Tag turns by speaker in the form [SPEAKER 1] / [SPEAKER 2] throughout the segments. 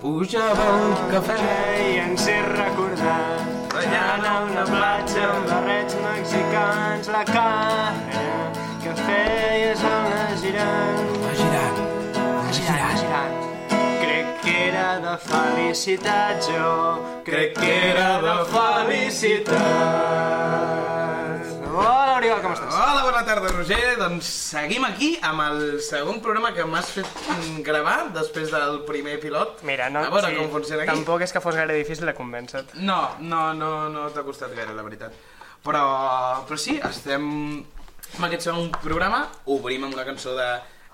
[SPEAKER 1] Puja banc i cafè.
[SPEAKER 2] i ens he recordat ballant a una platja amb barrets mexicans la cara que feies a la girant
[SPEAKER 1] Va girant, va girant.
[SPEAKER 2] girant crec que era de felicitat jo crec que era de felicitat Hola, Oriol, com estàs?
[SPEAKER 3] Hola, bona tarda, Roger. Doncs seguim aquí amb el segon programa que m'has fet mm, gravar després del primer pilot.
[SPEAKER 2] Mira, no,
[SPEAKER 3] A veure com funciona aquí.
[SPEAKER 2] tampoc és que fos gaire difícil de convèncer-te.
[SPEAKER 3] No, no, no, no t'ha costat gaire, la veritat. Però, però sí, estem amb aquest segon programa. Obrim amb la cançó de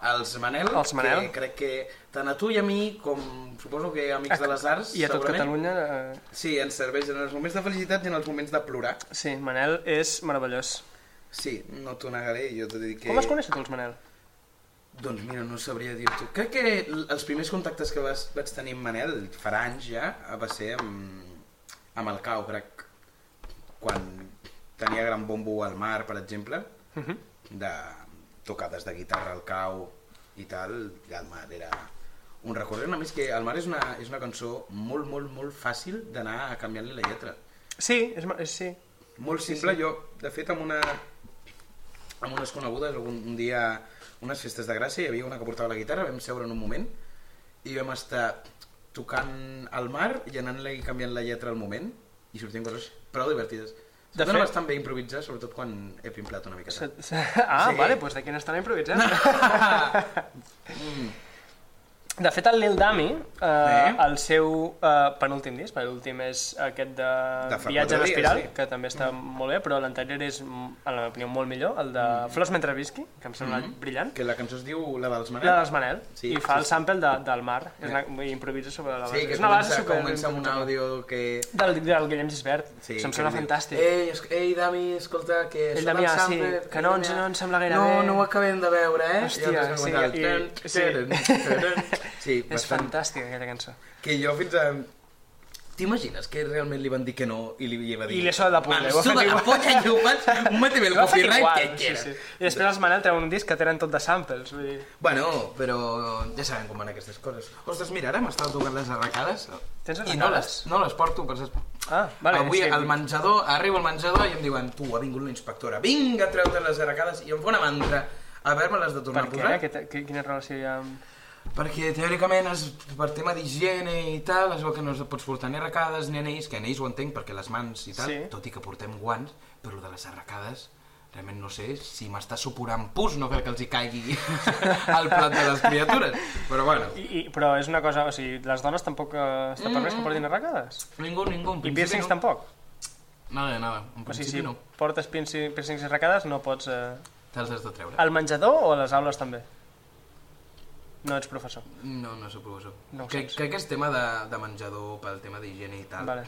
[SPEAKER 3] els Manel,
[SPEAKER 2] Els Manel.
[SPEAKER 3] que crec que tant a tu i a mi, com suposo que amics de les arts,
[SPEAKER 2] I a tot
[SPEAKER 3] segurament,
[SPEAKER 2] Catalunya, eh,
[SPEAKER 3] Sí, ens serveix en els moments de felicitat i en els moments de plorar.
[SPEAKER 2] sí, Manel és meravellós.
[SPEAKER 3] Sí, no t'ho negaré, jo t'ho dic que...
[SPEAKER 2] Com vas conèixer tu els Manel?
[SPEAKER 3] Doncs mira, no sabria dir-t'ho. Crec que l- els primers contactes que vas, vaig tenir amb Manel, farà anys ja, eh, va ser amb, amb el cau, crec, quan tenia gran bombo al mar, per exemple, uh -huh. de tocades de guitarra al cau i tal, i al mar era un recorrent. A més que el mar és una, és una cançó molt, molt, molt fàcil d'anar canviant-li la lletra.
[SPEAKER 2] Sí, és, ma- és sí.
[SPEAKER 3] Molt simple, jo, de fet, amb una... amb unes conegudes, un, un dia, unes festes de Gràcia, hi havia una que portava la guitarra, vam seure en un moment i vam estar tocant al mar i anant-li canviant la lletra al moment i sortien coses prou divertides.
[SPEAKER 2] De
[SPEAKER 3] De fet...
[SPEAKER 2] fet-
[SPEAKER 3] bastant bé improvisar, sobretot quan he pimplat una miqueta.
[SPEAKER 2] Se- se- Ah,
[SPEAKER 3] Sí.
[SPEAKER 2] vale, doncs de quin estan improvisant. Mm. De fet, el Lil Dami, eh,
[SPEAKER 3] Eh?
[SPEAKER 2] el seu eh, penúltim disc, perquè l'últim és aquest de,
[SPEAKER 3] De fa
[SPEAKER 2] Viatge
[SPEAKER 3] quatre
[SPEAKER 2] en
[SPEAKER 3] dies,
[SPEAKER 2] espiral,
[SPEAKER 3] sí.
[SPEAKER 2] que també està molt bé, però l'anterior és, mm, en la meva opinió, molt millor, el de
[SPEAKER 3] Mm.
[SPEAKER 2] Flors mentre visqui, que em sembla brillant.
[SPEAKER 3] Que la cançó es diu la dels
[SPEAKER 2] La
[SPEAKER 3] Manel.
[SPEAKER 2] dels Manel,
[SPEAKER 3] Mm-hmm. Sí,
[SPEAKER 2] i fa
[SPEAKER 3] sí,
[SPEAKER 2] el sample de, del mar, és una, i improvisa sobre la base.
[SPEAKER 3] Sí, que
[SPEAKER 2] és una base
[SPEAKER 3] comença,
[SPEAKER 2] super...
[SPEAKER 3] comença amb un àudio que...
[SPEAKER 2] Del, del Guillem Gisbert, sí, em
[SPEAKER 3] que
[SPEAKER 2] sembla
[SPEAKER 3] em diu, "Eh,
[SPEAKER 2] fantàstic.
[SPEAKER 3] Ei, es- ei, Dami, escolta, que...
[SPEAKER 2] Ei,
[SPEAKER 3] sóc
[SPEAKER 2] Damià,
[SPEAKER 3] el
[SPEAKER 2] sí,
[SPEAKER 3] Sampler,
[SPEAKER 2] que no ens- no ens sembla gaire
[SPEAKER 3] no,
[SPEAKER 2] bé.
[SPEAKER 3] No ho acabem de veure, eh?
[SPEAKER 2] Hòstia,
[SPEAKER 3] I altres
[SPEAKER 2] sí,
[SPEAKER 3] comentant,
[SPEAKER 2] i-
[SPEAKER 3] "Tan,
[SPEAKER 2] sí.
[SPEAKER 3] tan, tan". Sí,
[SPEAKER 2] és
[SPEAKER 3] bastant.
[SPEAKER 2] fantàstica aquella cançó.
[SPEAKER 3] Que jo fins a... T'imagines que realment li van dir que no i li va dir...
[SPEAKER 2] I li sona la polla,
[SPEAKER 3] "Em
[SPEAKER 2] ho va fer
[SPEAKER 3] suda la
[SPEAKER 2] igual".
[SPEAKER 3] polla, jo vaig... Mate el
[SPEAKER 2] Ho va fer
[SPEAKER 3] copyright
[SPEAKER 2] igual,
[SPEAKER 3] que quieras.
[SPEAKER 2] Sí, sí. I després els Manel treuen un disc que tenen tot de samples. Vull dir,
[SPEAKER 3] Bueno, però ja sabem com van aquestes coses. Ostres, mira, ara m'estàs tocant les arracades.
[SPEAKER 2] Tens
[SPEAKER 3] I no les,
[SPEAKER 2] arracades?
[SPEAKER 3] no les porto, per saps?
[SPEAKER 2] Ah, vale.
[SPEAKER 3] Vale, Avui
[SPEAKER 2] és que-
[SPEAKER 3] al menjador, arribo al menjador i em diuen tu, ha vingut la inspectora, vinga, treu-te les aracades i em fa una mantra a haver-me-les de
[SPEAKER 2] Per
[SPEAKER 3] tornar
[SPEAKER 2] què?
[SPEAKER 3] a posar.
[SPEAKER 2] Que, que, quina um, relació hi ha amb...
[SPEAKER 3] Perquè teòricament és per tema d'higiene i tal, es veu que no es pots portar ni arracades ni anells, que anells ho entenc perquè les mans i tal,
[SPEAKER 2] Sí.
[SPEAKER 3] tot i que portem guants, però lo de les arracades realment no sé si m'està suporant pus, no crec que els hi caigui al plat de les criatures. Però bueno,
[SPEAKER 2] I, i, però és una cosa... O sigui, les dones tampoc eh, està
[SPEAKER 3] Mm,
[SPEAKER 2] permès que portin arracades?
[SPEAKER 3] ningú, ningú, en
[SPEAKER 2] I
[SPEAKER 3] principi
[SPEAKER 2] piercings
[SPEAKER 3] no.
[SPEAKER 2] tampoc? Ah,
[SPEAKER 3] Nada de nada, en
[SPEAKER 2] O sigui,
[SPEAKER 3] principi
[SPEAKER 2] si
[SPEAKER 3] no.
[SPEAKER 2] portes piercing- piercings i arracades no pots... Eh...
[SPEAKER 3] Te'ls has de treure.
[SPEAKER 2] Al menjador o a les aules també? No ets professor.
[SPEAKER 3] No, no sóc professor.
[SPEAKER 2] No ho
[SPEAKER 3] crec,
[SPEAKER 2] saps.
[SPEAKER 3] crec que és tema de, de menjador pel tema d'higiene i tal,
[SPEAKER 2] Vale.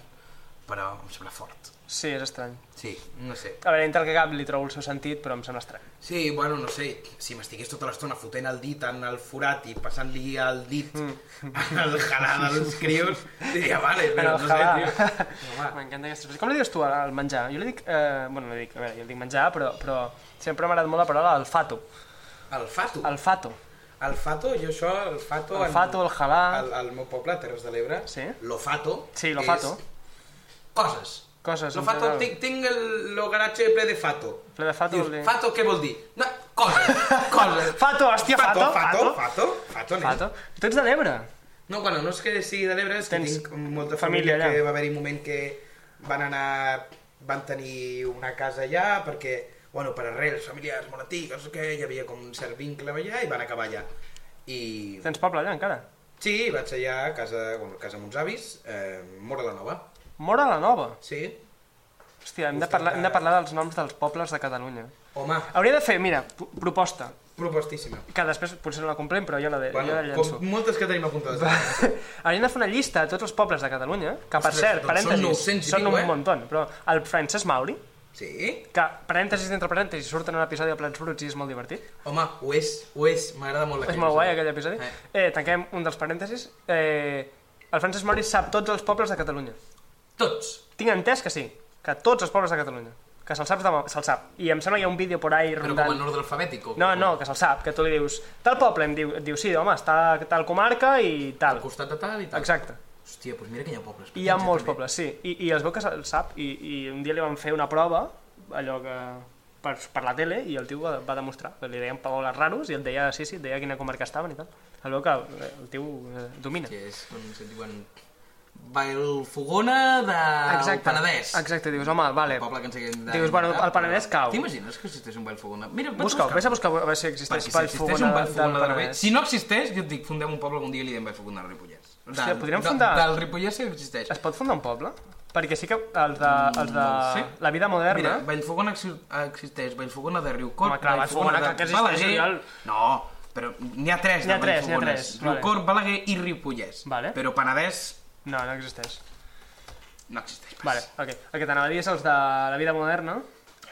[SPEAKER 3] però em sembla fort.
[SPEAKER 2] Sí, és estrany.
[SPEAKER 3] Sí, no sé.
[SPEAKER 2] A veure, entre el que cap li trobo el seu sentit, però em sembla estrany.
[SPEAKER 3] Sí, bueno, no sé, si m'estigués tota l'estona fotent el dit en el forat i passant-li el dit
[SPEAKER 2] Mm.
[SPEAKER 3] al jalà dels crios, diria, vale,
[SPEAKER 2] En
[SPEAKER 3] però
[SPEAKER 2] el
[SPEAKER 3] no sé,
[SPEAKER 2] jalà.
[SPEAKER 3] tio. No, va.
[SPEAKER 2] M'encanta aquesta expressió. Com li dius tu al menjar? Jo li dic... Eh, bueno, li dic, a veure, jo li dic menjar, però, però sempre m'ha agradat molt la paraula alfato.
[SPEAKER 3] El fato. El...
[SPEAKER 2] Alfato.
[SPEAKER 3] fato, jo això, el fato... en-
[SPEAKER 2] Alfato, el halà...
[SPEAKER 3] Al, al meu poble, a Terres de l'Ebre,
[SPEAKER 2] Sí.
[SPEAKER 3] lo fato
[SPEAKER 2] Sí, lo fato.
[SPEAKER 3] és coses.
[SPEAKER 2] Coses.
[SPEAKER 3] Lo
[SPEAKER 2] un
[SPEAKER 3] fato,
[SPEAKER 2] regalo.
[SPEAKER 3] tinc, tinc el lo garatge ple de fato.
[SPEAKER 2] Ple de fato, vol dir-
[SPEAKER 3] Dius, fato què vol dir? No, coses, coses.
[SPEAKER 2] Fato, hòstia, fato,
[SPEAKER 3] fato,
[SPEAKER 2] fato.
[SPEAKER 3] fato, fato, nen.
[SPEAKER 2] Fato. Tu ets de l'Ebre.
[SPEAKER 3] No, bueno, no és que sigui de l'Ebre, és que
[SPEAKER 2] Tens
[SPEAKER 3] tinc molta
[SPEAKER 2] família
[SPEAKER 3] família,
[SPEAKER 2] allà.
[SPEAKER 3] que va haver-hi un moment que van anar... van tenir una casa allà perquè, bueno, per arrels familiars molt antigues, que hi havia com un cert vincle allà i van acabar allà. I
[SPEAKER 2] Tens poble allà, encara.
[SPEAKER 3] sí, vaig allà a casa, bueno, a casa amb uns avis, eh, Mora la Nova,
[SPEAKER 2] Mora la Nova.
[SPEAKER 3] sí.
[SPEAKER 2] Hòstia, hem de, parlar, hem de parlar dels noms dels pobles de Catalunya.
[SPEAKER 3] Home,
[SPEAKER 2] Hauria de fer, mira, p- proposta,
[SPEAKER 3] propostíssima.
[SPEAKER 2] que després potser no la complim, però jo la, de, jo la
[SPEAKER 3] Bueno,
[SPEAKER 2] llenço.
[SPEAKER 3] com moltes que tenim apuntades.
[SPEAKER 2] Hauríem de fer una llista de tots els pobles de Catalunya, que per
[SPEAKER 3] Ostres,
[SPEAKER 2] cert,
[SPEAKER 3] doncs
[SPEAKER 2] parèntesis,
[SPEAKER 3] són 900 i
[SPEAKER 2] són
[SPEAKER 3] pico,
[SPEAKER 2] un
[SPEAKER 3] eh?
[SPEAKER 2] montón, però el Francesc Mauri,
[SPEAKER 3] Sí?
[SPEAKER 2] que parèntesis dintre parèntesis surt en un episodi de Plans Bruts i és molt divertit,
[SPEAKER 3] Home, ho és, ho és, m'agrada molt
[SPEAKER 2] és
[SPEAKER 3] aquell
[SPEAKER 2] molt guai aquell
[SPEAKER 3] episodi.
[SPEAKER 2] episodi. Eh, tanquem un dels parèntesis. Eh, el Francesc Mauri sap tots els pobles de Catalunya.
[SPEAKER 3] Tots.
[SPEAKER 2] Tinc entès que sí, que tots els pobles de Catalunya. que se'l saps de... me- se'l sap. I em sembla que hi ha un vídeo por ahí
[SPEAKER 3] Però com en
[SPEAKER 2] rondant.
[SPEAKER 3] ordre alfabètic? O,
[SPEAKER 2] No, no, que se'l sap, que tu li dius tal poble, em diu, et diu sí, home, està a tal comarca i tal.
[SPEAKER 3] Al costat de tal i tal.
[SPEAKER 2] Exacte.
[SPEAKER 3] Hòstia, doncs mira que hi ha pobles.
[SPEAKER 2] I hi ha
[SPEAKER 3] petits, eh,
[SPEAKER 2] molts
[SPEAKER 3] també.
[SPEAKER 2] pobles, sí. I, i es veu que se'l sap. I, I un dia li van fer una prova, allò que per, per la tele, i el tio va, va demostrar. Li deien paraules raros i et deia, sí, sí, et deia a quina comarca estaven i tal. El veu que el, el tio eh, domina.
[SPEAKER 3] Que és com se diuen... Va el Fogona de... el Penedès.
[SPEAKER 2] Exacte, dius, home, vale.
[SPEAKER 3] El poble que ens haguem de...
[SPEAKER 2] Dius, bueno, el Penedès cau.
[SPEAKER 3] T'imagines que existeix un Vall Fogona? Mira, vaig
[SPEAKER 2] Busca-ho,
[SPEAKER 3] buscar.
[SPEAKER 2] vés a buscar a veure si
[SPEAKER 3] Perquè
[SPEAKER 2] existeix
[SPEAKER 3] si
[SPEAKER 2] Vall
[SPEAKER 3] existeix un
[SPEAKER 2] Fogona
[SPEAKER 3] Vall Fogona de Ripollet...
[SPEAKER 2] Penedès.
[SPEAKER 3] Si no existeix, jo et dic, fundem un poble que un dia li diem Vall Fogona de Ripollès.
[SPEAKER 2] Hòstia,
[SPEAKER 3] Del-
[SPEAKER 2] podríem
[SPEAKER 3] de-
[SPEAKER 2] fundar-
[SPEAKER 3] Del Ripollès sí que existeix.
[SPEAKER 2] Es pot fundar un poble? Perquè sí que els de, els de
[SPEAKER 3] no ho sé.
[SPEAKER 2] la vida
[SPEAKER 3] Mira,
[SPEAKER 2] moderna...
[SPEAKER 3] Vallfogona exi- existeix, Vallfogona de Riucorb,
[SPEAKER 2] Home, clar, Vallfogona,
[SPEAKER 3] de
[SPEAKER 2] clar que existeix,
[SPEAKER 3] Balaguer...
[SPEAKER 2] Oriol.
[SPEAKER 3] No, però n'hi ha tres
[SPEAKER 2] N'hi ha
[SPEAKER 3] de
[SPEAKER 2] tres, n'hi ha
[SPEAKER 3] Vallfogones.
[SPEAKER 2] tres, vale.
[SPEAKER 3] Riucorb, Balaguer i Ripollès.
[SPEAKER 2] Vale.
[SPEAKER 3] Però Penedès
[SPEAKER 2] No, no existeix.
[SPEAKER 3] no existeix pas.
[SPEAKER 2] Vale, ok. El que t'anava a dir és els de la vida moderna.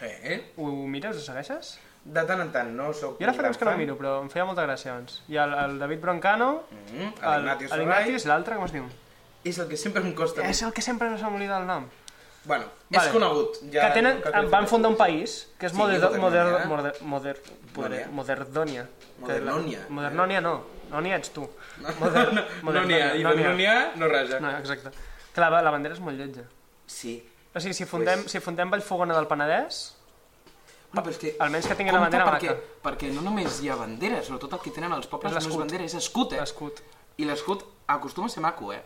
[SPEAKER 3] Eh?
[SPEAKER 2] Ho mires, ho segueixes?
[SPEAKER 4] De tant en tant, no sóc...
[SPEAKER 2] Jo ara fa temps que no
[SPEAKER 4] fan.
[SPEAKER 2] miro, però em feia molta gràcia abans. Hi ha el, el David Broncano,
[SPEAKER 3] Mm-hmm.
[SPEAKER 4] Mm,
[SPEAKER 2] el- el
[SPEAKER 4] L'Ignatius Solai
[SPEAKER 2] Ignatius i l'altre, com es diu?
[SPEAKER 4] és el que sempre em costa.
[SPEAKER 2] És el que sempre no se m'oblida el nom.
[SPEAKER 4] Bueno,
[SPEAKER 2] Vale.
[SPEAKER 4] és conegut. Ja,
[SPEAKER 2] que tenen,
[SPEAKER 4] que crec
[SPEAKER 2] van
[SPEAKER 4] que-
[SPEAKER 2] fundar un país que és
[SPEAKER 4] Sí,
[SPEAKER 2] moder, moder,
[SPEAKER 4] Modernònia.
[SPEAKER 2] moder, moder, poder,
[SPEAKER 4] Modernònia.
[SPEAKER 2] Modernònia. Que
[SPEAKER 4] Modernònia.
[SPEAKER 2] la- Modernònia no. Nònia ets tu. Moder,
[SPEAKER 4] No n'hi ha, i de no n'hi ha, no raja.
[SPEAKER 2] No, exacte. Que la, la bandera és molt lletja.
[SPEAKER 4] Sí.
[SPEAKER 2] O sigui, si fundem, si fundem Vallfogona del Penedès,
[SPEAKER 3] No, però és que...
[SPEAKER 2] almenys que tinguin la
[SPEAKER 3] compte
[SPEAKER 2] bandera
[SPEAKER 3] perquè,
[SPEAKER 2] maca.
[SPEAKER 3] perquè no només hi ha bandera, sobretot el que tenen els pobles
[SPEAKER 2] És
[SPEAKER 3] no és
[SPEAKER 2] l'escut.
[SPEAKER 3] bandera, és escut, eh?
[SPEAKER 2] l'escut.
[SPEAKER 3] I l'escut acostuma a ser maco, eh?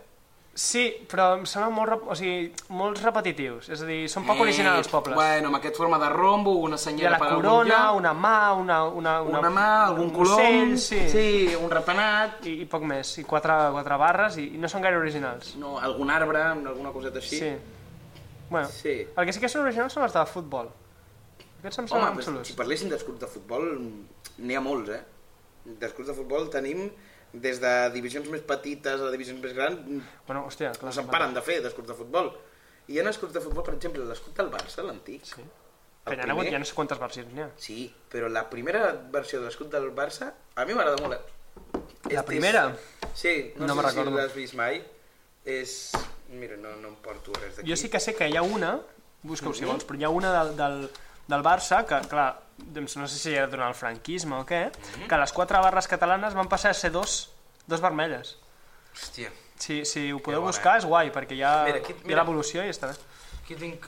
[SPEAKER 2] Sí, però em sembla molt, rep- o sigui, molts repetitius. És a dir, són poc originals els pobles.
[SPEAKER 3] Eh, Bueno, amb aquest forma de rombo,
[SPEAKER 2] Hi
[SPEAKER 3] una
[SPEAKER 2] ha
[SPEAKER 3] senyora
[SPEAKER 2] la
[SPEAKER 3] per algun
[SPEAKER 2] corona,
[SPEAKER 3] lloc,
[SPEAKER 2] una mà, una... Una,
[SPEAKER 3] una, mà, algun
[SPEAKER 2] un
[SPEAKER 3] colom,
[SPEAKER 2] ocell, sí. sí.
[SPEAKER 3] sí, un repenat,
[SPEAKER 2] I, I poc més. I quatre, quatre barres i, i no són gaire originals.
[SPEAKER 3] no, algun arbre, amb alguna coseta així.
[SPEAKER 2] Sí. Bueno,
[SPEAKER 4] Sí.
[SPEAKER 2] el que sí que són originals són els de futbol. Aquests em
[SPEAKER 4] Home,
[SPEAKER 2] semblen
[SPEAKER 4] però
[SPEAKER 2] absoluts.
[SPEAKER 4] si parléssim d'escuts de futbol, n'hi ha molts, eh? D'escuts de futbol tenim des de divisions més petites a divisions més grans,
[SPEAKER 2] Bueno, hòstia, clar.
[SPEAKER 4] no se'n paren de fer d'escuts de futbol. I hi ha escuts de futbol, per exemple, l'escut del Barça, l'antic.
[SPEAKER 2] Sí.
[SPEAKER 4] El
[SPEAKER 2] Que hi ha hagut,
[SPEAKER 4] primer.
[SPEAKER 2] ja no sé quantes versions n'hi ha.
[SPEAKER 4] Sí, però la primera versió de l'escut del Barça a mi m'agrada molt. eh?
[SPEAKER 2] La
[SPEAKER 4] És-
[SPEAKER 2] primera?
[SPEAKER 4] És... Sí,
[SPEAKER 2] No
[SPEAKER 4] no, no
[SPEAKER 2] me'n
[SPEAKER 4] sé si
[SPEAKER 2] recordo.
[SPEAKER 4] l'has vist mai. És... Mira, no, no em porto res d'aquí.
[SPEAKER 2] Jo sí que sé que hi ha una, busca-ho si vols, però hi ha una del, del, del Barça, que clar, doncs no sé si era durant el franquisme o què, que les quatre barres catalanes van passar a ser dos, dos vermelles.
[SPEAKER 3] Hòstia,
[SPEAKER 2] Si, si ho podeu
[SPEAKER 3] bona,
[SPEAKER 2] buscar és guai, perquè hi ha,
[SPEAKER 3] Mira, aquí-
[SPEAKER 2] hi
[SPEAKER 3] mira.
[SPEAKER 2] ha l'evolució i ja està bé.
[SPEAKER 3] aquí tinc...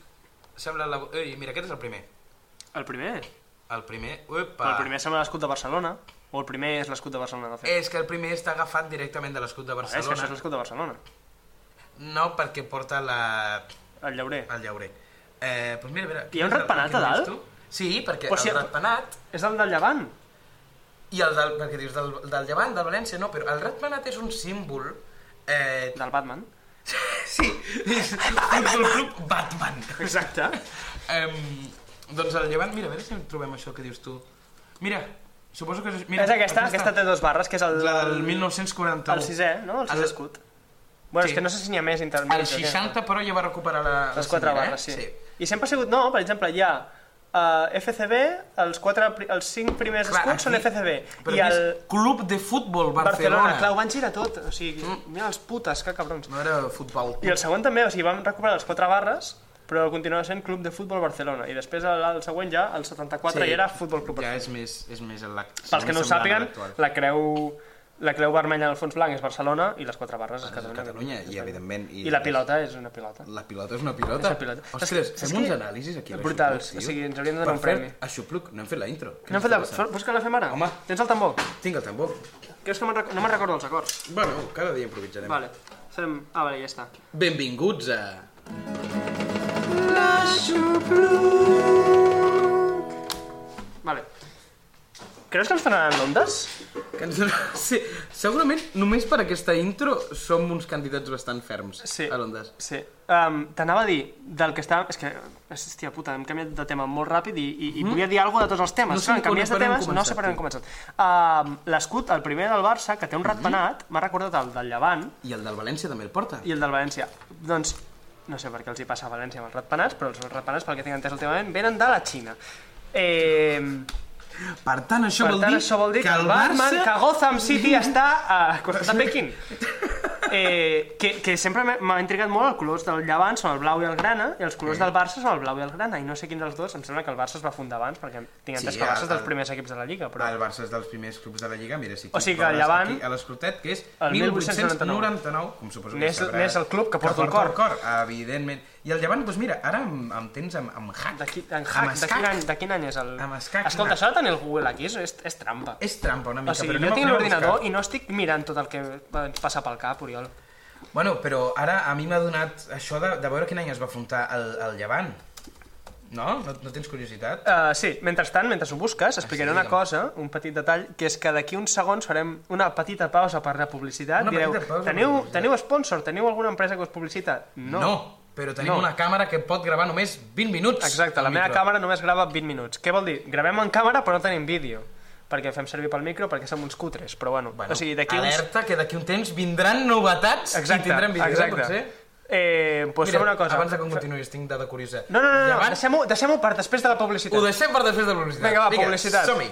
[SPEAKER 3] Sembla la... Ei, mira, aquest és el primer.
[SPEAKER 2] El primer?
[SPEAKER 3] El primer... Uepa!
[SPEAKER 2] Però el primer sembla l'escut de Barcelona, o el primer és l'escut de Barcelona, de fet.
[SPEAKER 3] És que el primer està agafat directament de l'escut de
[SPEAKER 2] Ah, és que això
[SPEAKER 3] Eh, Barcelona.
[SPEAKER 2] és l'escut de Barcelona,
[SPEAKER 3] No perquè porta la...
[SPEAKER 2] el llaurer.
[SPEAKER 3] el llaurer. Eh, doncs mira, mira...
[SPEAKER 2] Hi ha un ratpenat a dalt?
[SPEAKER 3] Sí, perquè
[SPEAKER 2] Però si-
[SPEAKER 3] el ratpenat...
[SPEAKER 2] És el del llevant.
[SPEAKER 3] I el del, perquè dius del, del llevant, del València, no, però el ratpenat és un símbol... Eh,
[SPEAKER 2] Del Batman.
[SPEAKER 3] sí, és futbol club Batman.
[SPEAKER 2] Exacte.
[SPEAKER 3] Em, doncs el llevant, mira, a veure si trobem això que dius tu. Mira, suposo que... és- Mira,
[SPEAKER 2] és aquesta, aquesta té dos barres, que és el,
[SPEAKER 3] La del
[SPEAKER 2] el
[SPEAKER 3] 1941.
[SPEAKER 2] sisè, no? El sisè
[SPEAKER 3] El-
[SPEAKER 2] escut. Bueno,
[SPEAKER 3] Sí.
[SPEAKER 2] és que no sé si n'hi ha més intermedis.
[SPEAKER 3] El 60, però ja va recuperar la...
[SPEAKER 2] Les quatre
[SPEAKER 3] senyora, eh?
[SPEAKER 2] barres, sí. I sempre ha sigut, no, per exemple, hi ha uh, FCB, els, quatre, pri- els cinc primers
[SPEAKER 3] Clar,
[SPEAKER 2] escuts són
[SPEAKER 3] aquí-
[SPEAKER 2] FCB.
[SPEAKER 3] Però
[SPEAKER 2] I el
[SPEAKER 3] Club de Futbol Barcelona. Mm.
[SPEAKER 2] Barcelona, clar, ho van girar tot. O sigui, mira els putes, que cabrons.
[SPEAKER 3] No era futbol.
[SPEAKER 2] I el següent també, o sigui, vam recuperar les quatre barres, però continuava sent Club de Futbol Barcelona. I després el, el següent ja, el 74,
[SPEAKER 3] Sí.
[SPEAKER 2] ja era Futbol Club
[SPEAKER 3] Ja
[SPEAKER 2] Barcelona.
[SPEAKER 3] és més, és més el lac.
[SPEAKER 2] Pels que no ho sàpiguen, la creu, la creu vermella del fons blanc és Barcelona i les quatre barres és Catalunya.
[SPEAKER 3] Ah, Catalunya, i evidentment...
[SPEAKER 2] I la pilota és una pilota.
[SPEAKER 3] La pilota és una pilota.
[SPEAKER 2] una pilota.
[SPEAKER 3] Ostres,
[SPEAKER 2] Saps- saps
[SPEAKER 3] fem uns
[SPEAKER 2] què?
[SPEAKER 3] anàlisis aquí. a
[SPEAKER 2] Brutals.
[SPEAKER 3] l'Aixopluc, tio.
[SPEAKER 2] O sigui, ens hauríem de donar
[SPEAKER 3] Per
[SPEAKER 2] un premi.
[SPEAKER 3] cert, Aixopluc, no hem fet la intro. Què
[SPEAKER 2] No
[SPEAKER 3] ens
[SPEAKER 2] hem fet la...
[SPEAKER 3] passa?
[SPEAKER 2] Vols que la fem ara?
[SPEAKER 3] Home.
[SPEAKER 2] Tens el tambor?
[SPEAKER 3] Tinc el tambor.
[SPEAKER 2] Creus que me'n rec... no me'n recordo els acords?
[SPEAKER 4] Bueno, cada dia improvisarem.
[SPEAKER 2] Vale. Fem... Ah, vale, ja està.
[SPEAKER 3] Benvinguts a...
[SPEAKER 2] Vale. Creus que ens donaran l'ondes?
[SPEAKER 3] Que ens dona- Sí, segurament només per aquesta intro som uns candidats bastant ferms
[SPEAKER 2] Sí.
[SPEAKER 3] a l'Ondes.
[SPEAKER 2] Sí. Um, T'anava a dir del que estava... És que, hòstia puta, hem canviat de tema molt ràpid i, i, i volia dir alguna cosa de tots els temes.
[SPEAKER 3] Mhm. No sé
[SPEAKER 2] Clar,
[SPEAKER 3] ni
[SPEAKER 2] en canvies de
[SPEAKER 3] per on
[SPEAKER 2] temes,
[SPEAKER 3] hem
[SPEAKER 2] no sé per on hem començat. Um, L'escut, el primer del Barça, que té
[SPEAKER 3] Mhm.
[SPEAKER 2] un ratpenat, m'ha recordat el del Llevant,
[SPEAKER 3] I el del València també el porta.
[SPEAKER 2] I el del València, doncs, no sé per què els hi passa a València amb els ratpenats, però els ratpenats, pel que tinc entès últimament, venen de la Xina. Eh,
[SPEAKER 3] Per tant, això,
[SPEAKER 2] per
[SPEAKER 3] vol,
[SPEAKER 2] tant,
[SPEAKER 3] dir
[SPEAKER 2] això vol dir que el Batman, que Gotham City està a costat de Pequín. eh, que, que sempre m'ha- m'ha intrigat molt els colors del Llevant són el blau i el grana i els colors del Barça són el blau i el grana i no sé quins dels dos, em sembla que el Barça es va fundar abans perquè tinc entès
[SPEAKER 4] Sí,
[SPEAKER 2] que el Barça
[SPEAKER 4] el-
[SPEAKER 2] és dels
[SPEAKER 4] el-
[SPEAKER 2] primers equips de la Lliga però
[SPEAKER 4] El Barça és dels primers clubs de la Lliga, mira, si
[SPEAKER 2] O sigui que el Llevant-
[SPEAKER 4] aquí, a l'escrutet, que és
[SPEAKER 2] El
[SPEAKER 4] 1899, com suposo que
[SPEAKER 2] N'és- n'és el club que porta el
[SPEAKER 4] el cor. Evidentment. I el Llevant, doncs mira, ara em, em tens amb, amb hack.
[SPEAKER 2] de, qui, en hack, de,
[SPEAKER 4] amb
[SPEAKER 2] quin
[SPEAKER 4] escac.
[SPEAKER 2] any, de quin any és el...
[SPEAKER 4] Amb escac,
[SPEAKER 2] Escolta,
[SPEAKER 4] Nac.
[SPEAKER 2] això de tenir el Google aquí és, és, és trampa
[SPEAKER 4] És trampa una mica,
[SPEAKER 2] o sigui,
[SPEAKER 4] però
[SPEAKER 2] jo
[SPEAKER 4] anem a-
[SPEAKER 2] tinc
[SPEAKER 4] anem a
[SPEAKER 2] l'ordinador
[SPEAKER 4] buscar.
[SPEAKER 2] i no estic mirant tot el que ens passa pel cap, Oriol
[SPEAKER 4] Bueno, però ara a mi m'ha donat això de, de veure quin any es va afrontar el, el Llevant. No? no? No tens curiositat?
[SPEAKER 2] Uh, sí, mentrestant, mentre ho busques, explicaré
[SPEAKER 4] Ah, sí,
[SPEAKER 2] una
[SPEAKER 4] digue'm.
[SPEAKER 2] cosa, un petit detall, que és que d'aquí uns segons farem una petita pausa per la publicitat.
[SPEAKER 4] Una
[SPEAKER 2] Direu,
[SPEAKER 4] petita pausa per
[SPEAKER 2] teniu,
[SPEAKER 4] publicitat."
[SPEAKER 2] teniu sponsor? Teniu alguna empresa que us publicita? No.
[SPEAKER 4] no però tenim
[SPEAKER 2] No.
[SPEAKER 4] no. una càmera que pot gravar només 20 minuts.
[SPEAKER 2] Exacte, la
[SPEAKER 4] al
[SPEAKER 2] meva
[SPEAKER 4] micro.
[SPEAKER 2] càmera només grava 20 minuts. Què vol dir? Gravem en càmera però no tenim vídeo, perquè fem servir pel micro perquè som uns cutres, però bueno.
[SPEAKER 3] Bueno,
[SPEAKER 2] o sigui, d'aquí uns...
[SPEAKER 3] alerta, que d'aquí un temps vindran novetats
[SPEAKER 2] Exacte,
[SPEAKER 3] i tindrem vídeo,
[SPEAKER 4] eh,
[SPEAKER 2] exacte.
[SPEAKER 3] potser.
[SPEAKER 2] Eh, doncs fem una cosa.
[SPEAKER 3] abans de que continuïs, tinc dada curiosa.
[SPEAKER 2] No, no, no, no,
[SPEAKER 3] Llevant-
[SPEAKER 2] deixem-ho deixem per després de la publicitat.
[SPEAKER 3] Ho deixem per després de la publicitat.
[SPEAKER 2] Vinga, va, publicitat.
[SPEAKER 3] Som-hi.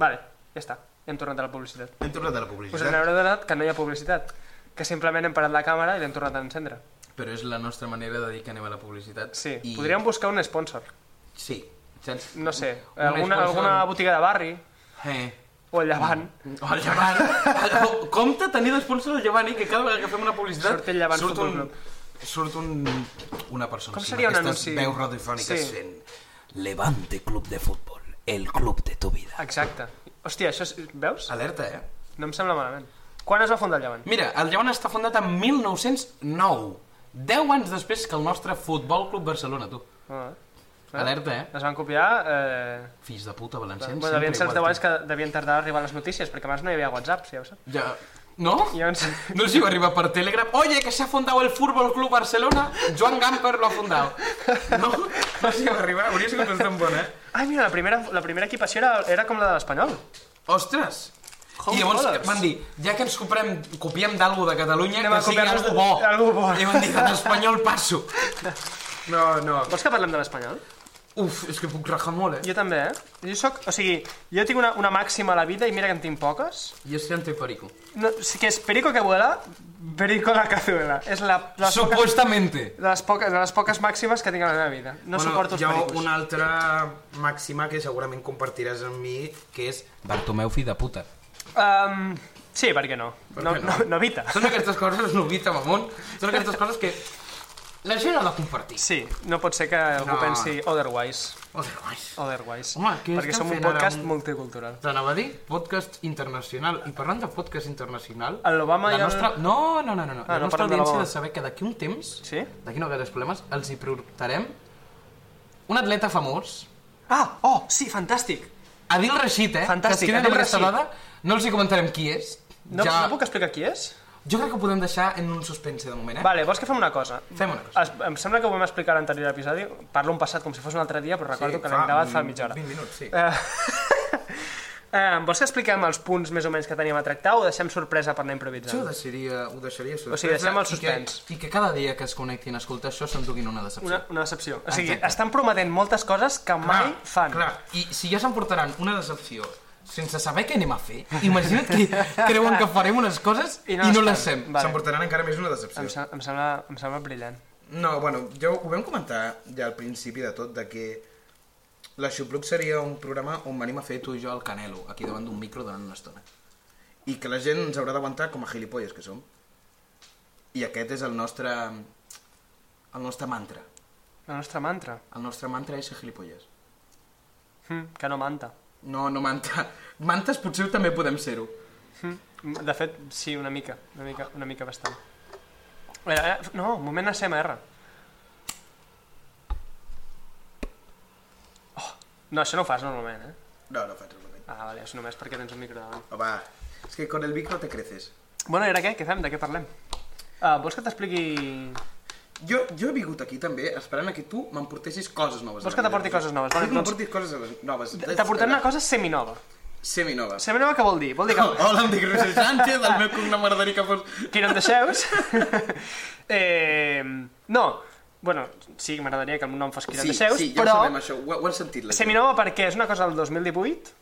[SPEAKER 2] Vale, ja està. Hem tornat a la publicitat.
[SPEAKER 4] Hem tornat a la
[SPEAKER 2] Us
[SPEAKER 4] publicitat,
[SPEAKER 2] n'haureu donat que no hi ha publicitat, que simplement hem parat la càmera i l'hem tornat a encendre.
[SPEAKER 3] Però és la nostra manera de dir que anem a la publicitat.
[SPEAKER 2] Sí,
[SPEAKER 3] I-
[SPEAKER 2] podríem buscar un sponsor,
[SPEAKER 4] sí. Saps?
[SPEAKER 2] no sé,
[SPEAKER 3] Un
[SPEAKER 2] alguna,
[SPEAKER 3] sponsor. Mm.
[SPEAKER 2] alguna botiga de barri
[SPEAKER 3] Eh.
[SPEAKER 2] o el llevant.
[SPEAKER 3] O el llevant. O- Compte tenir d'esponsor el llevant i que cada vegada que fem una publicitat...
[SPEAKER 2] Surt el llevant
[SPEAKER 3] surt
[SPEAKER 2] Futbol
[SPEAKER 3] un,
[SPEAKER 2] Club.
[SPEAKER 3] surt un, una persona
[SPEAKER 2] Com
[SPEAKER 3] així,
[SPEAKER 2] seria
[SPEAKER 3] amb
[SPEAKER 2] un
[SPEAKER 3] aquestes
[SPEAKER 2] anunci?
[SPEAKER 3] veus radiofòniques
[SPEAKER 2] Sí.
[SPEAKER 3] fent...
[SPEAKER 5] Levante Club de Fútbol, el club de tu vida.
[SPEAKER 2] Exacte. Hòstia, això és... veus?
[SPEAKER 3] Alerta, eh?
[SPEAKER 2] No em sembla malament. Quan es va fundar el llevant?
[SPEAKER 3] Mira, el llevant està fundat en 1909. 10 anys després que el nostre Futbol Club Barcelona, tu.
[SPEAKER 2] Ah,
[SPEAKER 3] Mm. Alerta, eh?
[SPEAKER 2] es van copiar... Eh...
[SPEAKER 3] Fills de puta, valencians.
[SPEAKER 2] Bueno, devien ser els 10
[SPEAKER 3] igual,
[SPEAKER 2] anys que devien tardar a arribar les notícies, perquè abans no hi havia WhatsApp, ja ho saps.
[SPEAKER 3] tio. Ja... No?
[SPEAKER 2] I llavors...
[SPEAKER 3] No els iba a arribar per Telegram. Oye, que s'ha fundat el Futbol Club Barcelona, Joan Gamper lo ha fundat. No? No els iba a arribar, hauria sigut bastant bon, eh?
[SPEAKER 2] Ai, mira, la primera, la primera equipació era, era com la de l'Espanyol.
[SPEAKER 3] Ostres!
[SPEAKER 2] Com
[SPEAKER 3] I llavors
[SPEAKER 2] fodes?
[SPEAKER 3] van dir, ja que ens comprem, copiem d'algú de Catalunya,
[SPEAKER 2] Anem a
[SPEAKER 3] que sigui
[SPEAKER 2] copiar-nos
[SPEAKER 3] algú
[SPEAKER 2] de-
[SPEAKER 3] bo.
[SPEAKER 2] d'algú bo.
[SPEAKER 3] I van dir, en espanyol passo. No, no.
[SPEAKER 2] Vols que parlem de l'Espanyol?
[SPEAKER 3] Uf, és que puc rajar molt, eh?
[SPEAKER 2] Jo també, eh? Jo soc... O sigui, jo tinc una, una màxima a la vida i mira que en tinc poques.
[SPEAKER 3] Jo soy antiperico.
[SPEAKER 2] No, sí que és Perico que vuela, Perico la cazuela. És la, de les, poques,
[SPEAKER 3] Supuestamente.
[SPEAKER 2] de, les poques, de les poques màximes que tinc a la meva vida. No bueno, suporto els
[SPEAKER 4] hi ha
[SPEAKER 2] pericos.
[SPEAKER 4] una altra màxima que segurament compartiràs amb mi, que és...
[SPEAKER 3] Bartomeu, fill de puta.
[SPEAKER 2] Um, sí, per què no? no,
[SPEAKER 3] què no?
[SPEAKER 2] no? no evita.
[SPEAKER 3] Són aquestes coses, no vita, mamón. Són aquestes coses que la gent ha de compartir.
[SPEAKER 2] Sí, no pot ser que algú
[SPEAKER 3] No.
[SPEAKER 2] no. pensi otherwise.
[SPEAKER 3] Joder, guais.
[SPEAKER 2] otherwise.
[SPEAKER 3] Home, què
[SPEAKER 2] perquè
[SPEAKER 3] estem
[SPEAKER 2] som un
[SPEAKER 3] fent ara
[SPEAKER 2] podcast
[SPEAKER 3] amb-
[SPEAKER 2] multicultural.
[SPEAKER 3] T'anava a dir podcast internacional. I parlant de podcast internacional...
[SPEAKER 2] El Obama i
[SPEAKER 3] la
[SPEAKER 2] el-
[SPEAKER 3] nostra... No, no, no, no. no.
[SPEAKER 2] Ah,
[SPEAKER 3] la
[SPEAKER 2] no
[SPEAKER 3] nostra
[SPEAKER 2] parlem de
[SPEAKER 3] audiència
[SPEAKER 2] l'Obama.
[SPEAKER 3] ha de saber que d'aquí un temps,
[SPEAKER 2] Sí?
[SPEAKER 3] d'aquí no gaires problemes, els hi preguntarem un atleta famós,
[SPEAKER 2] Ah, oh, sí, fantàstic.
[SPEAKER 3] Adil Rashid, eh?
[SPEAKER 2] Fantàstic,
[SPEAKER 3] que es queden
[SPEAKER 2] Adil
[SPEAKER 3] amb aquesta
[SPEAKER 2] Rashid.
[SPEAKER 3] dada. No els hi comentarem qui és.
[SPEAKER 2] No,
[SPEAKER 3] ja...
[SPEAKER 2] ja. no puc explicar qui és?
[SPEAKER 3] Jo crec que ho podem deixar en un suspense de moment, eh?
[SPEAKER 2] Vale, vols que fem una cosa?
[SPEAKER 3] Fem una cosa.
[SPEAKER 2] Es, em sembla que ho vam explicar a l'anterior episodi. Parlo un passat com si fos un altre dia, però recordo
[SPEAKER 3] Sí,
[SPEAKER 2] que
[SPEAKER 3] fa
[SPEAKER 2] l'hem gravat fa mitja hora.
[SPEAKER 3] 20 minuts, sí.
[SPEAKER 2] Eh, vols que expliquem els punts més o menys que teníem a tractar o deixem sorpresa per anar improvisant?
[SPEAKER 4] Això ho deixaria, ho deixaria
[SPEAKER 2] O
[SPEAKER 4] sorpresa.
[SPEAKER 2] sigui, deixem el
[SPEAKER 3] I que-
[SPEAKER 2] suspens.
[SPEAKER 3] I que cada dia que es connectin a escoltar això s'enduguin una decepció.
[SPEAKER 2] Una, una decepció. O sigui,
[SPEAKER 3] Exacte.
[SPEAKER 2] estan prometent moltes coses que mai fan.
[SPEAKER 3] Clar, i si ja s'emportaran una decepció sense saber què anem a fer, imagina't que creuen que farem unes coses i no, les fem.
[SPEAKER 2] Vale.
[SPEAKER 4] S'emportaran encara més una decepció.
[SPEAKER 2] Em, se- em, sembla, em sembla brillant.
[SPEAKER 4] No, bueno, ja ho ho vam comentar ja al principi de tot, de que la Xupluc seria un programa on venim a fer tu i jo el Canelo, aquí davant d'un micro durant una estona. I que la gent ens haurà d'aguantar com a gilipolles que som. I aquest és el nostre... el nostre mantra.
[SPEAKER 2] La nostra mantra.
[SPEAKER 4] El nostre mantra és ser gilipolles.
[SPEAKER 2] Hm, que no manta.
[SPEAKER 4] No, no manta. Mantes potser també podem ser-ho.
[SPEAKER 2] Hm, de fet, sí, una mica. Una mica, una mica bastant. Eh, eh, no, un moment ASMR. Oh, Oh, no, això no ho fas normalment, eh?
[SPEAKER 4] No, no faig res.
[SPEAKER 2] Ah, vale, és només perquè tens un micro davant.
[SPEAKER 4] Va, és que con el micro te creces.
[SPEAKER 2] Bueno, i ara què? Què fem? De què parlem? Uh, vols que t'expliqui...
[SPEAKER 4] Jo, jo he vingut aquí també esperant a que tu m'emportessis coses noves.
[SPEAKER 2] Vols que t'aporti coses noves? Vale,
[SPEAKER 4] Vale,
[SPEAKER 2] doncs-
[SPEAKER 4] m'emportis coses noves.
[SPEAKER 2] T'aportem una cosa seminova.
[SPEAKER 4] Seminova.
[SPEAKER 2] Seminova què vol dir? Vol dir que...
[SPEAKER 4] Hola, em dic Roger Sánchez, el meu cognom m'agradaria que fos...
[SPEAKER 2] que no em deixeus. eh, no, bueno, sí que m'agradaria que el meu nom fos Quirón
[SPEAKER 4] Sí,
[SPEAKER 2] deixeus,
[SPEAKER 4] sí, ja
[SPEAKER 2] però
[SPEAKER 4] ho sabem, això. Ho, ho has sentit, la gent.
[SPEAKER 2] Seminova perquè és una cosa del 2018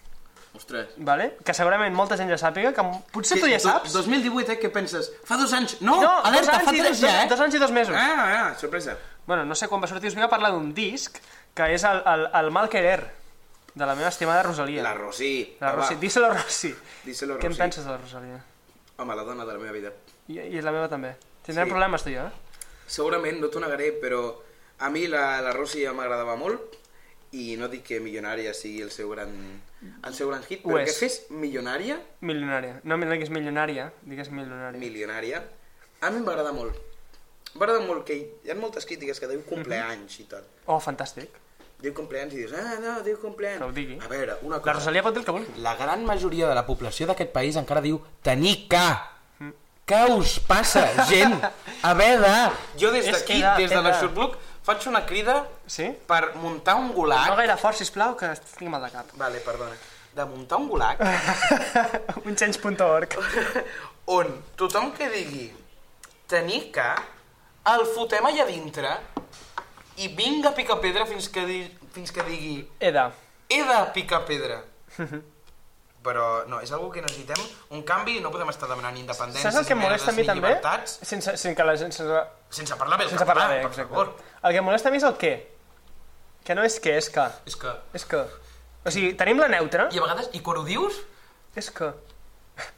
[SPEAKER 4] Ostres.
[SPEAKER 2] vale? que segurament molta gent ja sàpiga, que potser tu ja
[SPEAKER 4] Do-
[SPEAKER 2] saps.
[SPEAKER 4] 2018, eh? Què penses? Fa dos anys. No,
[SPEAKER 2] No, dos
[SPEAKER 4] alerta,
[SPEAKER 2] anys
[SPEAKER 4] fa
[SPEAKER 2] i
[SPEAKER 4] tres
[SPEAKER 2] dos,
[SPEAKER 4] ja, eh?
[SPEAKER 2] Dos anys i dos mesos.
[SPEAKER 4] Ah, ah, sorpresa.
[SPEAKER 2] Bueno, no sé quan va sortir, us vinc a parlar d'un disc que és el, el, el Mal Querer, de la meva estimada Rosalia.
[SPEAKER 4] La Rosí.
[SPEAKER 2] la
[SPEAKER 4] va,
[SPEAKER 2] Rossi.
[SPEAKER 4] va.
[SPEAKER 2] Díselo a Rossi.
[SPEAKER 4] Díselo a
[SPEAKER 2] Què en
[SPEAKER 4] Rossi.
[SPEAKER 2] penses de la Rosalia?
[SPEAKER 4] Home, la dona de la meva vida.
[SPEAKER 2] I, i la meva també. Tindrem
[SPEAKER 4] Sí.
[SPEAKER 2] problemes tu i jo, eh?
[SPEAKER 4] Segurament, no t'ho negaré, però a mi la, la Rossi ja m'agradava molt i no dic que Milionària sigui el seu gran, el seu gran hit,
[SPEAKER 2] Ho
[SPEAKER 4] però que
[SPEAKER 2] és.
[SPEAKER 4] fes Milionària,
[SPEAKER 2] Milionària. No me diguis milionària, digues milionària.
[SPEAKER 4] Milionària, a mi m'agrada molt. M'agrada molt que hi, hi ha moltes crítiques que diu compleanys i tot.
[SPEAKER 2] Oh, fantàstic.
[SPEAKER 4] Diu compleanys i dius, ah, no, diu compleanys.
[SPEAKER 2] Que ho digui.
[SPEAKER 4] A veure, una
[SPEAKER 2] La
[SPEAKER 4] cosa.
[SPEAKER 2] Rosalia pot dir el que vulgui.
[SPEAKER 3] La gran majoria de la població d'aquest país encara diu tenir que. Què us passa, gent? Haver de... Jo des
[SPEAKER 2] És que
[SPEAKER 3] d'aquí,
[SPEAKER 2] de- és
[SPEAKER 3] des de
[SPEAKER 2] de-
[SPEAKER 3] l'Aixopluc, faig una crida
[SPEAKER 2] Sí?
[SPEAKER 3] per muntar un gulag,
[SPEAKER 2] No gaire fort, sisplau, que estic mal de cap.
[SPEAKER 4] Vale, perdona.
[SPEAKER 3] de muntar un gulag,
[SPEAKER 2] Unchange.org
[SPEAKER 3] on tothom que digui tenir que, el fotem allà dintre i vinga a picar pedra fins que, di... fins que digui
[SPEAKER 2] Eda.
[SPEAKER 3] he de picar pedra. Però no, és algo que necessitem un canvi i no podem estar demanant independència.
[SPEAKER 2] Saps el que em molesta a mi també?
[SPEAKER 3] Llibertats,
[SPEAKER 2] Sense, sense que la gent... Sense,
[SPEAKER 3] sense parlar bé, el
[SPEAKER 2] sense
[SPEAKER 3] català,
[SPEAKER 2] parlar bé,
[SPEAKER 3] per favor.
[SPEAKER 2] exacte. El que em molesta a mi és el què. Que no és què, és que.
[SPEAKER 3] És que...
[SPEAKER 2] És que... O sigui, tenim la neutra.
[SPEAKER 3] I a vegades, i quan ho dius,
[SPEAKER 2] És que...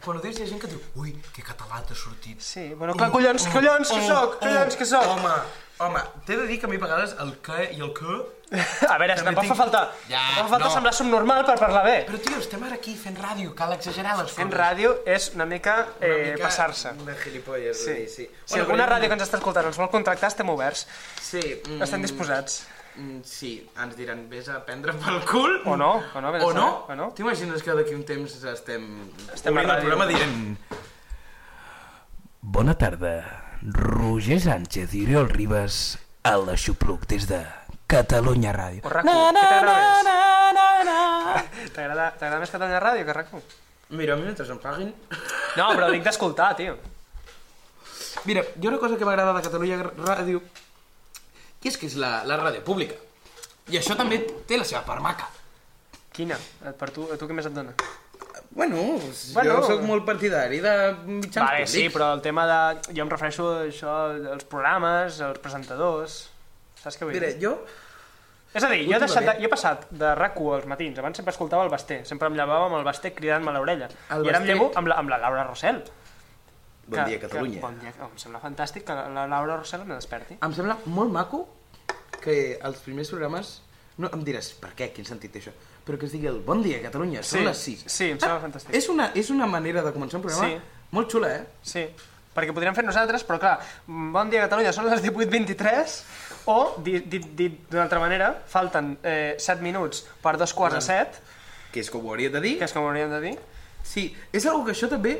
[SPEAKER 3] quan ho dius hi ha gent que diu ui, que català t'ha sortit.
[SPEAKER 2] Sí, bueno, clar, collons,
[SPEAKER 3] Mm,
[SPEAKER 2] collons, que soc, collons, que soc.
[SPEAKER 3] Home, home, t'he de dir que a mi a vegades el que i el que...
[SPEAKER 2] A veure, si tampoc
[SPEAKER 3] tinc-
[SPEAKER 2] fa falta...
[SPEAKER 3] Ja,
[SPEAKER 2] tampoc fa falta
[SPEAKER 3] no.
[SPEAKER 2] semblar subnormal per parlar bé.
[SPEAKER 3] Però tio, estem ara aquí fent ràdio, cal exagerar les
[SPEAKER 2] Fent
[SPEAKER 3] coses.
[SPEAKER 2] ràdio és una mica, eh,
[SPEAKER 4] Una mica
[SPEAKER 2] passar-se.
[SPEAKER 4] De gilipolles, sí. Dir, sí.
[SPEAKER 2] Si alguna ràdio que ens està escoltant ens vol contractar, estem oberts.
[SPEAKER 4] Sí, mm,
[SPEAKER 2] Estem disposats.
[SPEAKER 4] mm, Sí, ens diran, vés a prendre pel cul.
[SPEAKER 2] O no, o no, vés a
[SPEAKER 4] O no?
[SPEAKER 2] saber, o no.
[SPEAKER 4] T'imagines que d'aquí un temps estem...
[SPEAKER 2] Estem a
[SPEAKER 4] obrint el
[SPEAKER 2] ràdio.
[SPEAKER 4] programa dient...
[SPEAKER 5] Bona tarda. Roger Sánchez i Oriol Ribas a la Xupruc des de Catalunya Ràdio.
[SPEAKER 2] O RAC1, què t'agrada més? T'agrada t'agrada més Catalunya Ràdio que RAC1?
[SPEAKER 4] Mira, a mi mentre em paguin...
[SPEAKER 2] No, però dic d'escoltar, tio.
[SPEAKER 4] Mira, hi ha una cosa que m'agrada de Catalunya Ràdio i és que és la, la ràdio pública.
[SPEAKER 3] I això també té la seva part maca.
[SPEAKER 2] Quina? Eh, Per tu, a tu què més et dona?
[SPEAKER 4] Bueno, doncs
[SPEAKER 2] Bueno.
[SPEAKER 4] jo sóc molt partidari de mitjans
[SPEAKER 2] Vale,
[SPEAKER 4] públics.
[SPEAKER 2] sí, però el tema de... Jo em refereixo a això, als programes, als presentadors... Saps què vull dir?
[SPEAKER 4] Mira, jo...
[SPEAKER 2] És a dir, jo he, deixat de,
[SPEAKER 4] Últimament.
[SPEAKER 2] jo he passat de RAC1 als matins, abans sempre escoltava el Basté, sempre em llevava amb el Basté cridant-me a l'orella.
[SPEAKER 4] El
[SPEAKER 2] I ara em
[SPEAKER 4] Basté-
[SPEAKER 2] llevo amb la, amb la Laura Rossell.
[SPEAKER 4] Bon dia, Catalunya. Ah,
[SPEAKER 2] Que, bon dia, oh, em sembla fantàstic que la, la Laura Rossell me desperti.
[SPEAKER 4] Em sembla molt maco que els primers programes... No, em diràs, per què? Quin sentit té això? Però que es digui el Bon dia, Catalunya,
[SPEAKER 2] Sí,
[SPEAKER 4] són les 6.
[SPEAKER 2] sí, em sembla fantàstic.
[SPEAKER 4] És una, és una manera de començar un programa
[SPEAKER 2] Sí.
[SPEAKER 4] molt xula, eh?
[SPEAKER 2] Sí, perquè podríem fer nosaltres, però clar, mm, bon dia Catalunya, són les 18.23, o, dit, dit, dit d'una altra manera, falten eh, 7 minuts per dos quarts de 7,
[SPEAKER 4] Que és com ho hauria de dir.
[SPEAKER 2] que és com hauríem de dir.
[SPEAKER 4] Sí, és algo que això també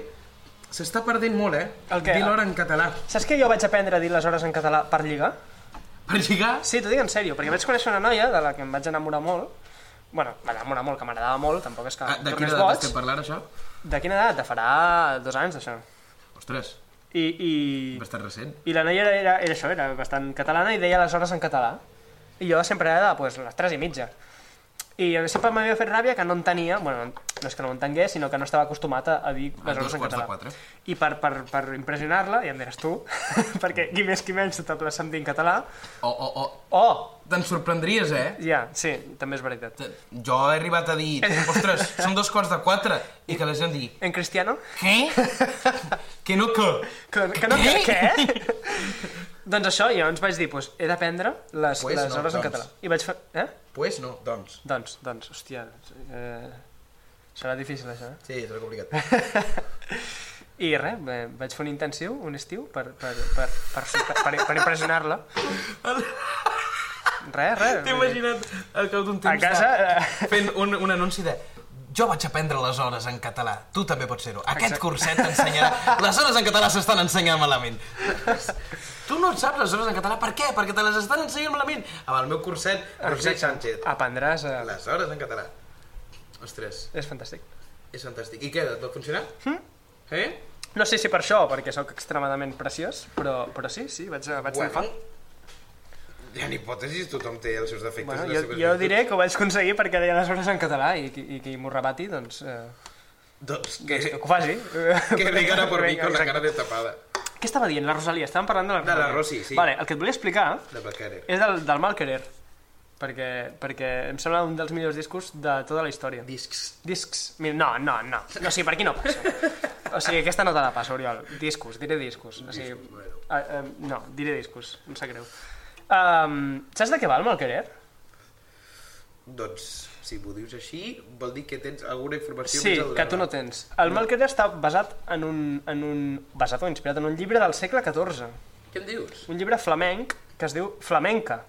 [SPEAKER 4] s'està perdent molt, eh?
[SPEAKER 2] El què?
[SPEAKER 4] Dir l'hora en català.
[SPEAKER 2] Saps que jo vaig aprendre a dir les hores en català per lligar?
[SPEAKER 4] Per lligar...
[SPEAKER 2] Sí, t'ho dic en sèrio, perquè vaig conèixer una noia de la que em vaig enamorar molt, bueno, m'enamorar molt, que m'agradava molt, tampoc és que
[SPEAKER 4] Ah,
[SPEAKER 2] em
[SPEAKER 4] de
[SPEAKER 2] tornés
[SPEAKER 4] quina edat
[SPEAKER 2] boig.
[SPEAKER 4] estem parlant, això?
[SPEAKER 2] De quina edat? De farà dos anys, d'això.
[SPEAKER 4] Ostres,
[SPEAKER 2] I, i,
[SPEAKER 4] bastant recent.
[SPEAKER 2] I la noia era, era, era això, era bastant catalana i deia les hores en català. I jo sempre era de pues, les 3 i mitja. I a mi sempre m'havia fet ràbia que no entenia, bueno, no és que no ho entengués, sinó que no estava acostumat a, a dir les hores en
[SPEAKER 3] Ah, quarts de
[SPEAKER 2] català.
[SPEAKER 3] quatre.
[SPEAKER 2] I per, per, per impressionar-la, i em diràs tu, perquè qui més qui menys tot el sentim en català,
[SPEAKER 3] O, o, o...
[SPEAKER 2] oh,
[SPEAKER 3] Te'n sorprendries, eh?
[SPEAKER 2] ja, sí, també és veritat.
[SPEAKER 3] Te- Jo he arribat a dir, ostres, són dos quarts de quatre, i que la gent digui,
[SPEAKER 2] En cristiano?
[SPEAKER 3] què? Que no que?
[SPEAKER 2] Que, que no,
[SPEAKER 3] Eh?
[SPEAKER 2] que, què? doncs això, jo ens vaig dir, pues, he d'aprendre les,
[SPEAKER 3] Pues
[SPEAKER 2] les
[SPEAKER 3] no,
[SPEAKER 2] hores en
[SPEAKER 3] doncs.
[SPEAKER 2] català. I vaig fer... Eh?
[SPEAKER 3] Pues no, doncs.
[SPEAKER 2] Doncs, doncs, hòstia, eh, serà difícil això, eh?
[SPEAKER 3] Sí, serà complicat.
[SPEAKER 2] I res, eh, vaig fer un intensiu, un estiu, per, per, per, per, per, per, per impressionar-la. Res, res.
[SPEAKER 3] T'he imaginat al cap d'un
[SPEAKER 2] A
[SPEAKER 3] temps
[SPEAKER 2] casa... eh,
[SPEAKER 3] de- fent un, un anunci de jo vaig aprendre les hores en català, tu també pots ser-ho. Aquest curset t'ensenyarà... Les hores en català s'estan ensenyant malament. Tu no et saps les hores en català, per què? Perquè te les estan ensenyant malament. Amb el meu curset, Roger
[SPEAKER 2] Eh,
[SPEAKER 3] Sánchez.
[SPEAKER 2] aprendràs a...
[SPEAKER 3] Les hores en català. Ostres,
[SPEAKER 2] És fantàstic.
[SPEAKER 3] és fantàstic. I què, et va funcionar?
[SPEAKER 2] Hm?
[SPEAKER 3] Eh?
[SPEAKER 2] No sé si per això, perquè sóc extremadament preciós, però, però sí, sí, eh, vaig, vaig
[SPEAKER 3] Bueno.
[SPEAKER 2] bueno.
[SPEAKER 6] Hi ha hipòtesis, tothom té els seus defectes.
[SPEAKER 2] Bueno,
[SPEAKER 6] i les
[SPEAKER 2] jo,
[SPEAKER 6] seves
[SPEAKER 2] jo
[SPEAKER 6] virtuts.
[SPEAKER 2] diré que ho vaig aconseguir perquè deia les obres en català i, qui- i qui m'ho rebati, doncs, eh,
[SPEAKER 6] Doncs que,
[SPEAKER 2] doncs que ho faci.
[SPEAKER 6] que vengan a por mi
[SPEAKER 2] Vinga,
[SPEAKER 6] con la
[SPEAKER 2] exacte.
[SPEAKER 6] cara destapada.
[SPEAKER 2] Què estava dient? La Rosalia. Estàvem parlant de la
[SPEAKER 6] De la Rosi, sí.
[SPEAKER 2] Vale, el que et volia explicar
[SPEAKER 6] De Bacarer.
[SPEAKER 2] és del, del mal querer. Perquè, perquè em sembla un dels millors discos de tota la història.
[SPEAKER 6] Discs.
[SPEAKER 2] Discs. Mira, No, no, no. No, o sigui, per aquí no passa. O sigui, aquesta no te la passa, Oriol. Discos, diré discos. O sigui, uh, um, no, diré discos, em sap greu. Um, saps de què va el Malquerer?
[SPEAKER 6] Doncs, si m'ho dius així, vol dir que tens alguna informació
[SPEAKER 2] Sí,
[SPEAKER 6] més al
[SPEAKER 2] que tu no tens. El Malquerer està basat en un, en un... basat o inspirat en un llibre del segle XIV.
[SPEAKER 6] Què em dius?
[SPEAKER 2] un llibre flamenc que es diu Flamenca,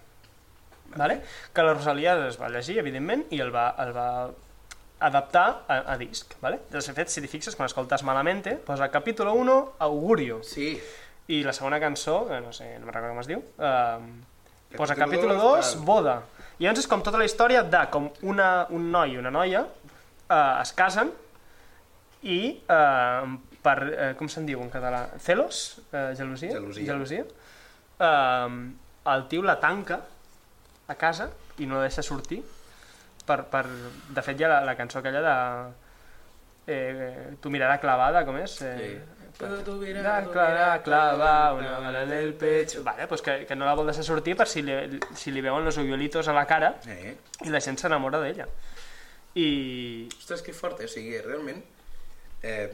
[SPEAKER 2] vale? que la Rosalia es va llegir, evidentment, i el va, el va adaptar a, a disc. Vale? De fet, si t'hi fixes, quan escoltes Malamente, posa capítol 1, Augurio,
[SPEAKER 6] Sí.
[SPEAKER 2] i la segona cançó, que no sé, no me'n recordo com es diu, eh, posa
[SPEAKER 6] Capítol
[SPEAKER 2] capítol
[SPEAKER 6] dos,
[SPEAKER 2] 2, Boda. I llavors és com tota la història de com una, un noi i una noia eh, es casen i eh, per, eh, com se'n diu en català? Celos? Eh, gelosia?
[SPEAKER 6] Gelosia.
[SPEAKER 2] gelosia? eh, el tio la tanca a casa i no la deixa sortir per, per... de fet hi ha la, la cançó aquella de eh, tu mirada clavada com és? Eh, sí. tu mirada clavada, clavada una bala en el pecho vale, pues que, que no la vol deixar sortir per si li, si li veuen los oviolitos a la cara
[SPEAKER 4] Eh?
[SPEAKER 2] i la gent s'enamora d'ella i
[SPEAKER 4] Ostres, que fort, eh? O sigui, realment... Eh,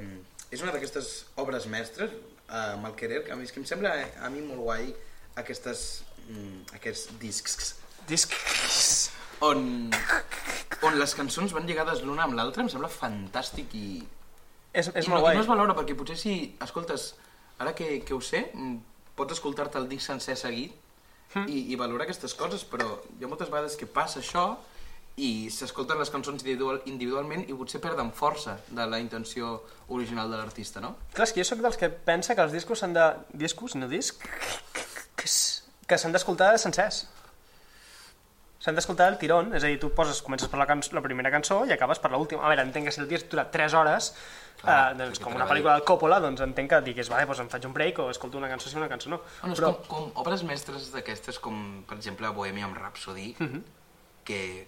[SPEAKER 4] és una d'aquestes obres mestres, eh, amb el querer, que a mi, és que em sembla eh, a mi molt guai aquestes, mm, aquests discs
[SPEAKER 2] disc
[SPEAKER 4] on, on les cançons van lligades l'una amb l'altra, em sembla fantàstic i...
[SPEAKER 2] és, és
[SPEAKER 4] I
[SPEAKER 2] molt
[SPEAKER 4] no,
[SPEAKER 2] guai
[SPEAKER 4] I no es valora, perquè potser si escoltes, ara que, que ho sé, mm, pots escoltar-te el disc sencer seguit
[SPEAKER 2] Hm.
[SPEAKER 4] i, i valorar aquestes coses, però hi ha moltes vegades que passa això i s'escolten les cançons individual, individualment i potser perden força de la intenció original de l'artista, no?
[SPEAKER 2] Clar, és que jo sóc dels que pensa que els discos s'han de... Discos, no disc? Que s'han d'escoltar sencers. S'han d'escoltar el tirón, és a dir, tu poses, comences per la, can... la primera cançó i acabes per l'última. A veure, entenc que si el disc dura 3 hores, ah, eh, doncs, com una pel·lícula de Coppola, doncs entenc que diguis, vale, doncs em faig un break o escolto una cançó sí una cançó Ah, no.
[SPEAKER 4] Bueno, és
[SPEAKER 2] Però
[SPEAKER 4] com, com obres mestres d'aquestes, com per exemple Bohemian Rhapsody, mm
[SPEAKER 2] Hm.
[SPEAKER 4] -hmm. que,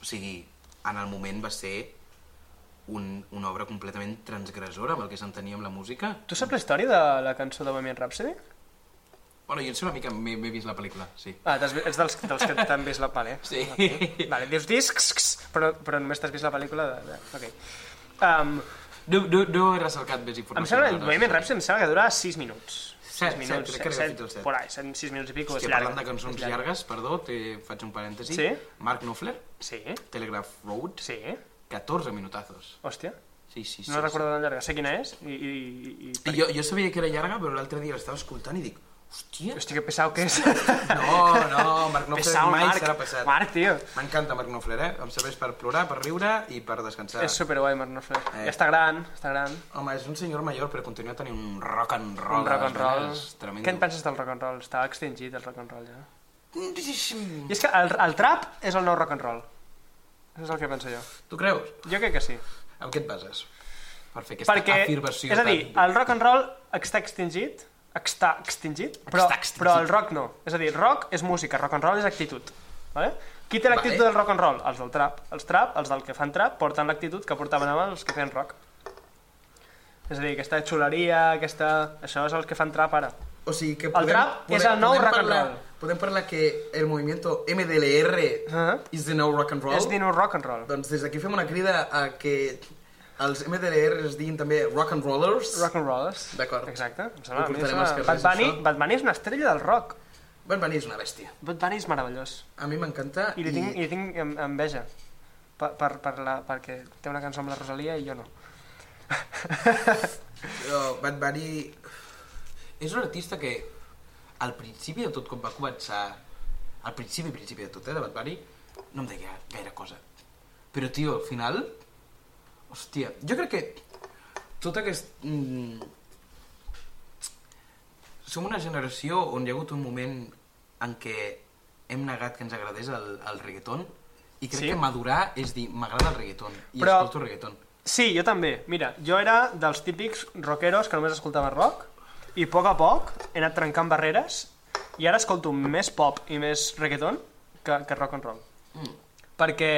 [SPEAKER 4] o sigui, en el moment va ser un, una obra completament transgressora amb el que s'entenia amb la música.
[SPEAKER 2] tu saps la història de la cançó de Bohemian Rhapsody?
[SPEAKER 4] Bueno, jo en sé una mica, m'he m'he vist la pel·lícula, sí.
[SPEAKER 2] Ah, t'has vi- ets dels, dels que t'han vist la... Vale.
[SPEAKER 4] Sí.
[SPEAKER 2] Vale, dius discs, però, però només t'has vist la pel·lícula de... de... Ok. Um,
[SPEAKER 4] No, no, no he ressalcat més
[SPEAKER 2] Em
[SPEAKER 4] informació.
[SPEAKER 2] sembla, el
[SPEAKER 4] al
[SPEAKER 2] Bohemian Rhapsody em sembla que dura 6 minuts.
[SPEAKER 4] Set,
[SPEAKER 2] 6
[SPEAKER 4] set,
[SPEAKER 2] minuts,
[SPEAKER 4] crec que arriba fins al set.
[SPEAKER 2] Por ahí, 6 minuts i pico,
[SPEAKER 4] Hòstia,
[SPEAKER 2] és llarga.
[SPEAKER 4] parlant de cançons
[SPEAKER 2] és llarga.
[SPEAKER 4] llargues, perdó, te faig un parèntesi.
[SPEAKER 2] Sí?
[SPEAKER 4] Mark Knopfler,
[SPEAKER 2] Sí,
[SPEAKER 4] Telegraph Road,
[SPEAKER 2] sí,
[SPEAKER 4] 14 minutazos.
[SPEAKER 2] hòstia.
[SPEAKER 4] Sí, sí, sí.
[SPEAKER 2] No
[SPEAKER 4] sí.
[SPEAKER 2] recordo tan llarga, sé quina és i... i, i, i...
[SPEAKER 4] I jo, jo sabia que era llarga, però l'altre dia l'estava escoltant i dic, hòstia,
[SPEAKER 2] Hòstia, que pesau que és.
[SPEAKER 4] No, no, Marc Knopfler
[SPEAKER 2] pesau,
[SPEAKER 4] mai
[SPEAKER 2] Marc.
[SPEAKER 4] serà passat.
[SPEAKER 2] Marc, tio.
[SPEAKER 4] M'encanta Marc Knopfler, eh? Em serveix per plorar, per riure i per descansar.
[SPEAKER 2] És superguai, Marc Knopfler.
[SPEAKER 4] Ah. Eh.
[SPEAKER 2] Ja està gran, està gran.
[SPEAKER 4] Home, és un senyor major, però continua tenint un rock and roll.
[SPEAKER 2] Un
[SPEAKER 4] a les
[SPEAKER 2] rock and roll.
[SPEAKER 4] venes, Tremendo.
[SPEAKER 2] Què en penses del rock and roll? Està extingit, el rock and roll, ja.
[SPEAKER 4] Mm, penses?
[SPEAKER 2] I és que el, el trap és el nou rock and roll. Això és el que penso jo.
[SPEAKER 4] Tu creus?
[SPEAKER 2] Jo crec que sí.
[SPEAKER 4] Amb què et bases? Per fer aquesta
[SPEAKER 2] perquè,
[SPEAKER 4] afirmació
[SPEAKER 2] és a dir,
[SPEAKER 4] tan...
[SPEAKER 2] el rock and roll està extingit, està extingit, però,
[SPEAKER 4] Està extingit.
[SPEAKER 2] però el rock no. És a dir, rock és música, rock and roll és actitud. Vale? Qui té l'actitud
[SPEAKER 4] Vale.
[SPEAKER 2] del rock and roll? Els del trap. Els trap, els del que fan trap, porten l'actitud que portaven abans els que feien rock. És a dir, aquesta xuleria, aquesta... Això és el que fan trap ara.
[SPEAKER 6] O sigui que
[SPEAKER 2] El trap és el nou
[SPEAKER 6] podem
[SPEAKER 2] rock and
[SPEAKER 6] parlar-
[SPEAKER 2] roll.
[SPEAKER 6] Podem parlar que el movimiento MDLR
[SPEAKER 2] Ah.
[SPEAKER 6] is the nou rock and roll?
[SPEAKER 2] És dino rock and roll.
[SPEAKER 6] Doncs des d'aquí fem una crida a que els MDLR es diguin també rock and rollers.
[SPEAKER 2] Rock and rollers.
[SPEAKER 6] D'acord.
[SPEAKER 2] Exacte. Em
[SPEAKER 6] Ho
[SPEAKER 2] sembla, a mi em
[SPEAKER 6] portarem als
[SPEAKER 2] sembla-
[SPEAKER 6] carrers,
[SPEAKER 2] Bad Bunny,
[SPEAKER 6] això.
[SPEAKER 2] Bad Bunny és una estrella del rock.
[SPEAKER 6] Van venir és una bèstia.
[SPEAKER 2] Bad Bunny és meravellós.
[SPEAKER 6] A mi m'encanta
[SPEAKER 2] I li tinc, i li tinc en- enveja. Per, per, per la, perquè té una cançó amb la Rosalia i jo no.
[SPEAKER 6] però Bad Bunny...
[SPEAKER 4] És un artista que al principi de tot, quan va començar, al principi, principi de tot, eh, de Bad Bunny, no em deia gaire cosa. Però, tio, al final... Hòstia, jo crec que tot aquest... Mm, som una generació on hi ha hagut un moment en què hem negat que ens agradés el, el reggaeton i crec
[SPEAKER 2] Sí.
[SPEAKER 4] sí. que madurar és dir, m'agrada el reggaeton i
[SPEAKER 2] Però-
[SPEAKER 4] escolto reggaeton.
[SPEAKER 2] Sí, jo també. Mira, jo era dels típics rockeros que només escoltava rock i a poc a poc he anat trencant barreres I ara escolto més pop i més reggaeton que, que rock and roll. Mm. Perquè,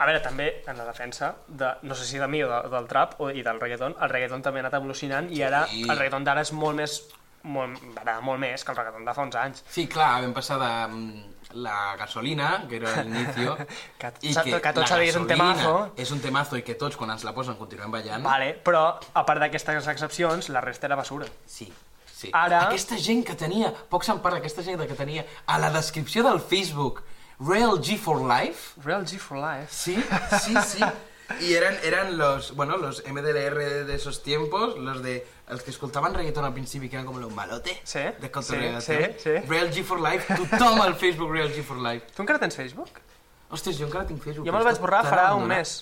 [SPEAKER 2] a veure, també en la defensa, de, no sé si de mi o de, del trap o, i del reggaeton, el reggaeton també ha anat evolucionant i ara el reggaeton d'ara és molt més molt, m'agrada molt més que el reggaeton de fa uns anys.
[SPEAKER 3] Sí, clar, vam passar de mm, la gasolina, que era l'inicio,
[SPEAKER 2] Que- que tots
[SPEAKER 3] la
[SPEAKER 2] sabia que és un
[SPEAKER 3] gasolina
[SPEAKER 2] temazo.
[SPEAKER 3] És un temazo i que tots, quan ens la posen, continuem ballant.
[SPEAKER 2] Vale, però, a part d'aquestes excepcions, la resta era basura.
[SPEAKER 3] Sí, sí.
[SPEAKER 2] Ara-
[SPEAKER 3] Aquesta gent que tenia, poc se'n parla, aquesta gent que tenia a la descripció del Facebook Real G for Life,
[SPEAKER 2] Real G for Life.
[SPEAKER 3] sí, sí, sí. Y eran, eran los, bueno, los MDLR de esos tiempos, los de los que escoltaven reggaeton al principi, que eren com un malote.
[SPEAKER 2] Sí,
[SPEAKER 3] de
[SPEAKER 2] sí,
[SPEAKER 3] contra el
[SPEAKER 4] eh,
[SPEAKER 3] reggaeton.
[SPEAKER 2] sí, sí.
[SPEAKER 3] Real G for Life, tothom al Facebook Real G for Life.
[SPEAKER 2] Tu encara tens Facebook?
[SPEAKER 3] Hòsties, jo encara tinc Facebook.
[SPEAKER 2] Jo
[SPEAKER 3] però
[SPEAKER 2] me'l vaig
[SPEAKER 3] està
[SPEAKER 2] borrar
[SPEAKER 3] tan
[SPEAKER 2] farà un
[SPEAKER 3] abandonat.
[SPEAKER 2] mes.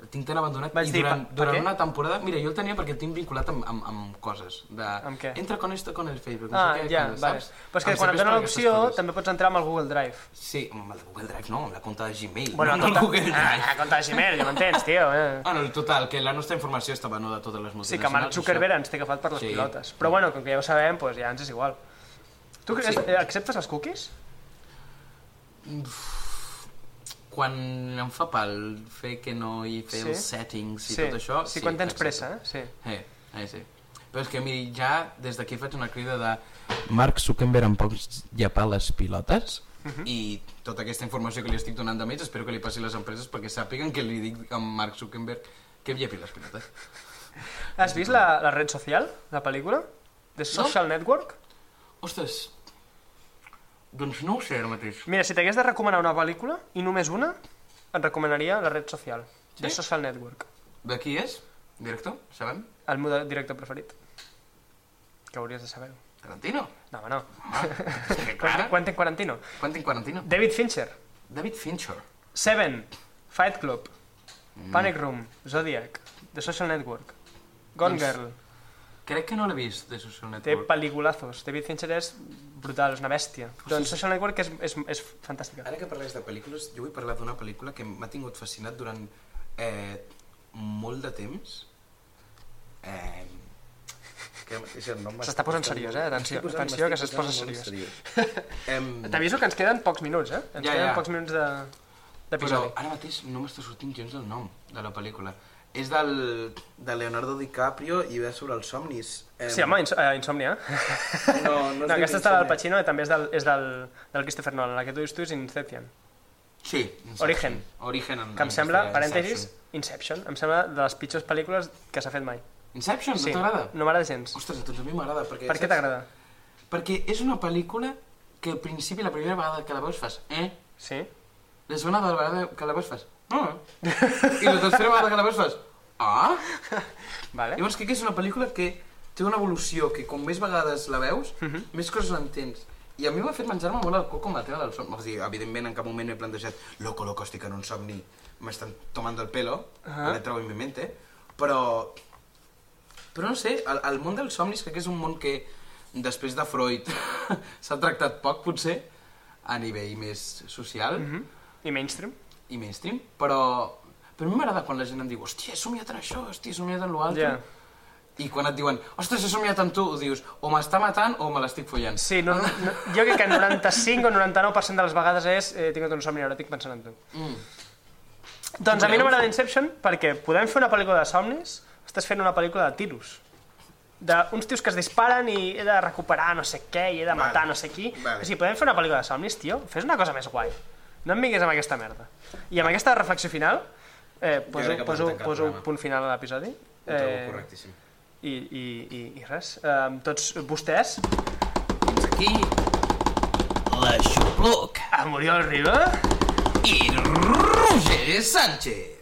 [SPEAKER 3] El tinc tan abandonat
[SPEAKER 2] Vaig
[SPEAKER 3] i
[SPEAKER 2] dir,
[SPEAKER 3] durant,
[SPEAKER 2] per- per
[SPEAKER 3] durant
[SPEAKER 2] què?
[SPEAKER 3] una temporada... Mira, jo el tenia perquè el tinc vinculat amb, amb, amb coses. De...
[SPEAKER 2] Amb què?
[SPEAKER 3] Entra con esto con el Facebook. No
[SPEAKER 2] Ah,
[SPEAKER 3] sé què,
[SPEAKER 2] ja,
[SPEAKER 3] que,
[SPEAKER 2] vale.
[SPEAKER 3] saps?
[SPEAKER 2] Però és que quan
[SPEAKER 3] Em
[SPEAKER 2] et
[SPEAKER 3] serveix
[SPEAKER 2] donen
[SPEAKER 3] per aquestes
[SPEAKER 2] l'opció
[SPEAKER 3] coses.
[SPEAKER 2] també pots entrar amb el Google Drive.
[SPEAKER 3] Sí, amb el Google Drive no, amb la compte de Gmail.
[SPEAKER 2] Bueno,
[SPEAKER 3] no, amb el Google Drive.
[SPEAKER 2] Ah, compte de Gmail, ja m'entens, tio. Eh?
[SPEAKER 3] Ah, no, el total, que la nostra informació estava no de totes les
[SPEAKER 2] Sí,
[SPEAKER 3] multinacionals.
[SPEAKER 2] que Mark Zuckerberg ens té agafat per les
[SPEAKER 3] Sí.
[SPEAKER 2] pilotes. Però bueno, com que ja ho sabem, doncs ja ens és igual. Tu creus, eh, acceptes les cookies?
[SPEAKER 3] Això. Quan em fa pal fer que no i fer
[SPEAKER 2] Sí.
[SPEAKER 3] els settings i tot això...
[SPEAKER 2] Sí, quan tens
[SPEAKER 3] accepto.
[SPEAKER 2] pressa, eh? Sí.
[SPEAKER 3] Eh, eh, sí. Però és que, miri, ja des d'aquí faig una crida de... Mark Zuckerberg em pots llepar les pilotes?
[SPEAKER 2] Mhm.
[SPEAKER 3] i tota aquesta informació que li estic donant de més espero que li passi a les empreses perquè sàpiguen que li dic a Mark Zuckerberg que llepi les pilotes.
[SPEAKER 2] Has vist la, la red social, la pel·lícula? The Social Network?
[SPEAKER 3] Ostres, doncs no ho sé ara mateix.
[SPEAKER 2] Mira, si t'hagués de recomanar una pel·lícula, i només una, et recomanaria la red social. The Social Network.
[SPEAKER 3] De qui és? Director? Sabem?
[SPEAKER 2] El meu director preferit. Que hauries de saber-ho.
[SPEAKER 3] Tarantino?
[SPEAKER 2] No, home, no.
[SPEAKER 3] És que
[SPEAKER 2] Quentin,
[SPEAKER 3] clar,
[SPEAKER 2] Quentin Quarantino.
[SPEAKER 3] Quentin Quarantino.
[SPEAKER 2] David Fincher.
[SPEAKER 3] David Fincher.
[SPEAKER 2] Seven, Fight Club, Panic Room, Zodiac, The Social Network, Gone
[SPEAKER 3] Doncs-
[SPEAKER 2] Girl.
[SPEAKER 3] Crec que no l'he vist, de Social
[SPEAKER 2] Té
[SPEAKER 3] Network.
[SPEAKER 2] pel·liculazos. David Fincher és brutal, és una bèstia. Doncs Social Network és, és, és fantàstica.
[SPEAKER 3] Ara que parles de pel·lícules, jo vull parlar d'una pel·lícula que m'ha tingut fascinat durant eh, molt de temps. Eh,
[SPEAKER 4] Que és el nom
[SPEAKER 2] S'està posant
[SPEAKER 4] m'estic
[SPEAKER 2] seriós, eh? Atenció,
[SPEAKER 4] m'estic posant-
[SPEAKER 2] atenció, que
[SPEAKER 4] m'estic
[SPEAKER 2] es posa
[SPEAKER 4] posant molt
[SPEAKER 2] seriós.
[SPEAKER 3] em,
[SPEAKER 2] T'aviso que ens queden pocs minuts, eh? Ens
[SPEAKER 3] Ja,
[SPEAKER 2] queden
[SPEAKER 3] ja.
[SPEAKER 2] pocs minuts de-
[SPEAKER 3] però
[SPEAKER 2] d'episodi. De,
[SPEAKER 3] ara mateix no m'està sortint gens el nom de la pel·lícula. És del...
[SPEAKER 4] De Leonardo DiCaprio i ve sobre els somnis. Em,
[SPEAKER 2] Sí, home, ins eh, Insomnia.
[SPEAKER 4] No,
[SPEAKER 2] No,
[SPEAKER 4] no,
[SPEAKER 2] no aquesta està del Pacino i també és del, és del, del Christopher Nolan. La que tu dius tu és Inception.
[SPEAKER 3] Sí.
[SPEAKER 2] Origen.
[SPEAKER 3] Origen. En,
[SPEAKER 2] Que em
[SPEAKER 3] en
[SPEAKER 2] sembla,
[SPEAKER 3] castellà,
[SPEAKER 2] parèntesis, Inception. Em sembla de les pitjors pel·lícules que s'ha fet mai.
[SPEAKER 3] Inception, Inception no t'agrada?
[SPEAKER 2] no m'agrada gens.
[SPEAKER 3] Ostres, doncs a mi m'agrada. Perquè,
[SPEAKER 2] Per què
[SPEAKER 3] saps?
[SPEAKER 2] t'agrada?
[SPEAKER 3] Perquè és una pel·lícula que al principi, la primera vegada que la veus, fas... Eh?
[SPEAKER 2] Sí?
[SPEAKER 3] La segona vegada que la veus, fas... Ah. I la tercera vegada que la veus, fas... Ah?
[SPEAKER 2] Vale.
[SPEAKER 3] Llavors crec que és una pel·lícula que té una evolució, que com més vegades la veus, uh -huh. més coses entens. I a mi m'ha fet menjar-me molt el coco amb el tema del somni. O sigui, evidentment, en cap moment he plantejat loco, loco, estic en un somni, m'estan tomando el pelo, uh -huh. la trobo en mi mente, però... Però no sé, el, el món dels somnis crec que és un món que, després de Freud, s'ha tractat poc, potser, a nivell més social, uh -huh
[SPEAKER 2] I mainstream?
[SPEAKER 3] i mainstream, però, però a mi m'agrada quan la gent em diu hòstia, he somiat en això, hòstia, he somiat en l'altre.
[SPEAKER 2] Ja.
[SPEAKER 3] I quan et diuen, ostres, he somiat amb tu, dius, o m'està matant o me l'estic follant.
[SPEAKER 2] Sí, no, no, jo crec que el 95 o 99% de les vegades és eh, he tingut un somni eròtic pensant en tu. Mm. Doncs a mi no m'agrada Inception perquè podem fer una pel·lícula de somnis, estàs fent una pel·lícula de tiros. D'uns tios que es disparen i he de recuperar no sé què i he de matar no sé qui. Vale. O sigui, podem fer una pel·lícula de somnis, tio? Fes una cosa més guai. No em vinguis amb aquesta merda. I amb aquesta reflexió final, eh, poso,
[SPEAKER 4] crec que podem
[SPEAKER 2] poso,
[SPEAKER 4] tancar el
[SPEAKER 2] poso
[SPEAKER 4] programa.
[SPEAKER 2] punt final a l'episodi. Eh,
[SPEAKER 4] Ho trobo correctíssim.
[SPEAKER 2] i, i, i, i res, eh, tots vostès,
[SPEAKER 3] Fins aquí,
[SPEAKER 5] L'aixopluc
[SPEAKER 2] a Muriel Riba,
[SPEAKER 3] i Roger Sánchez.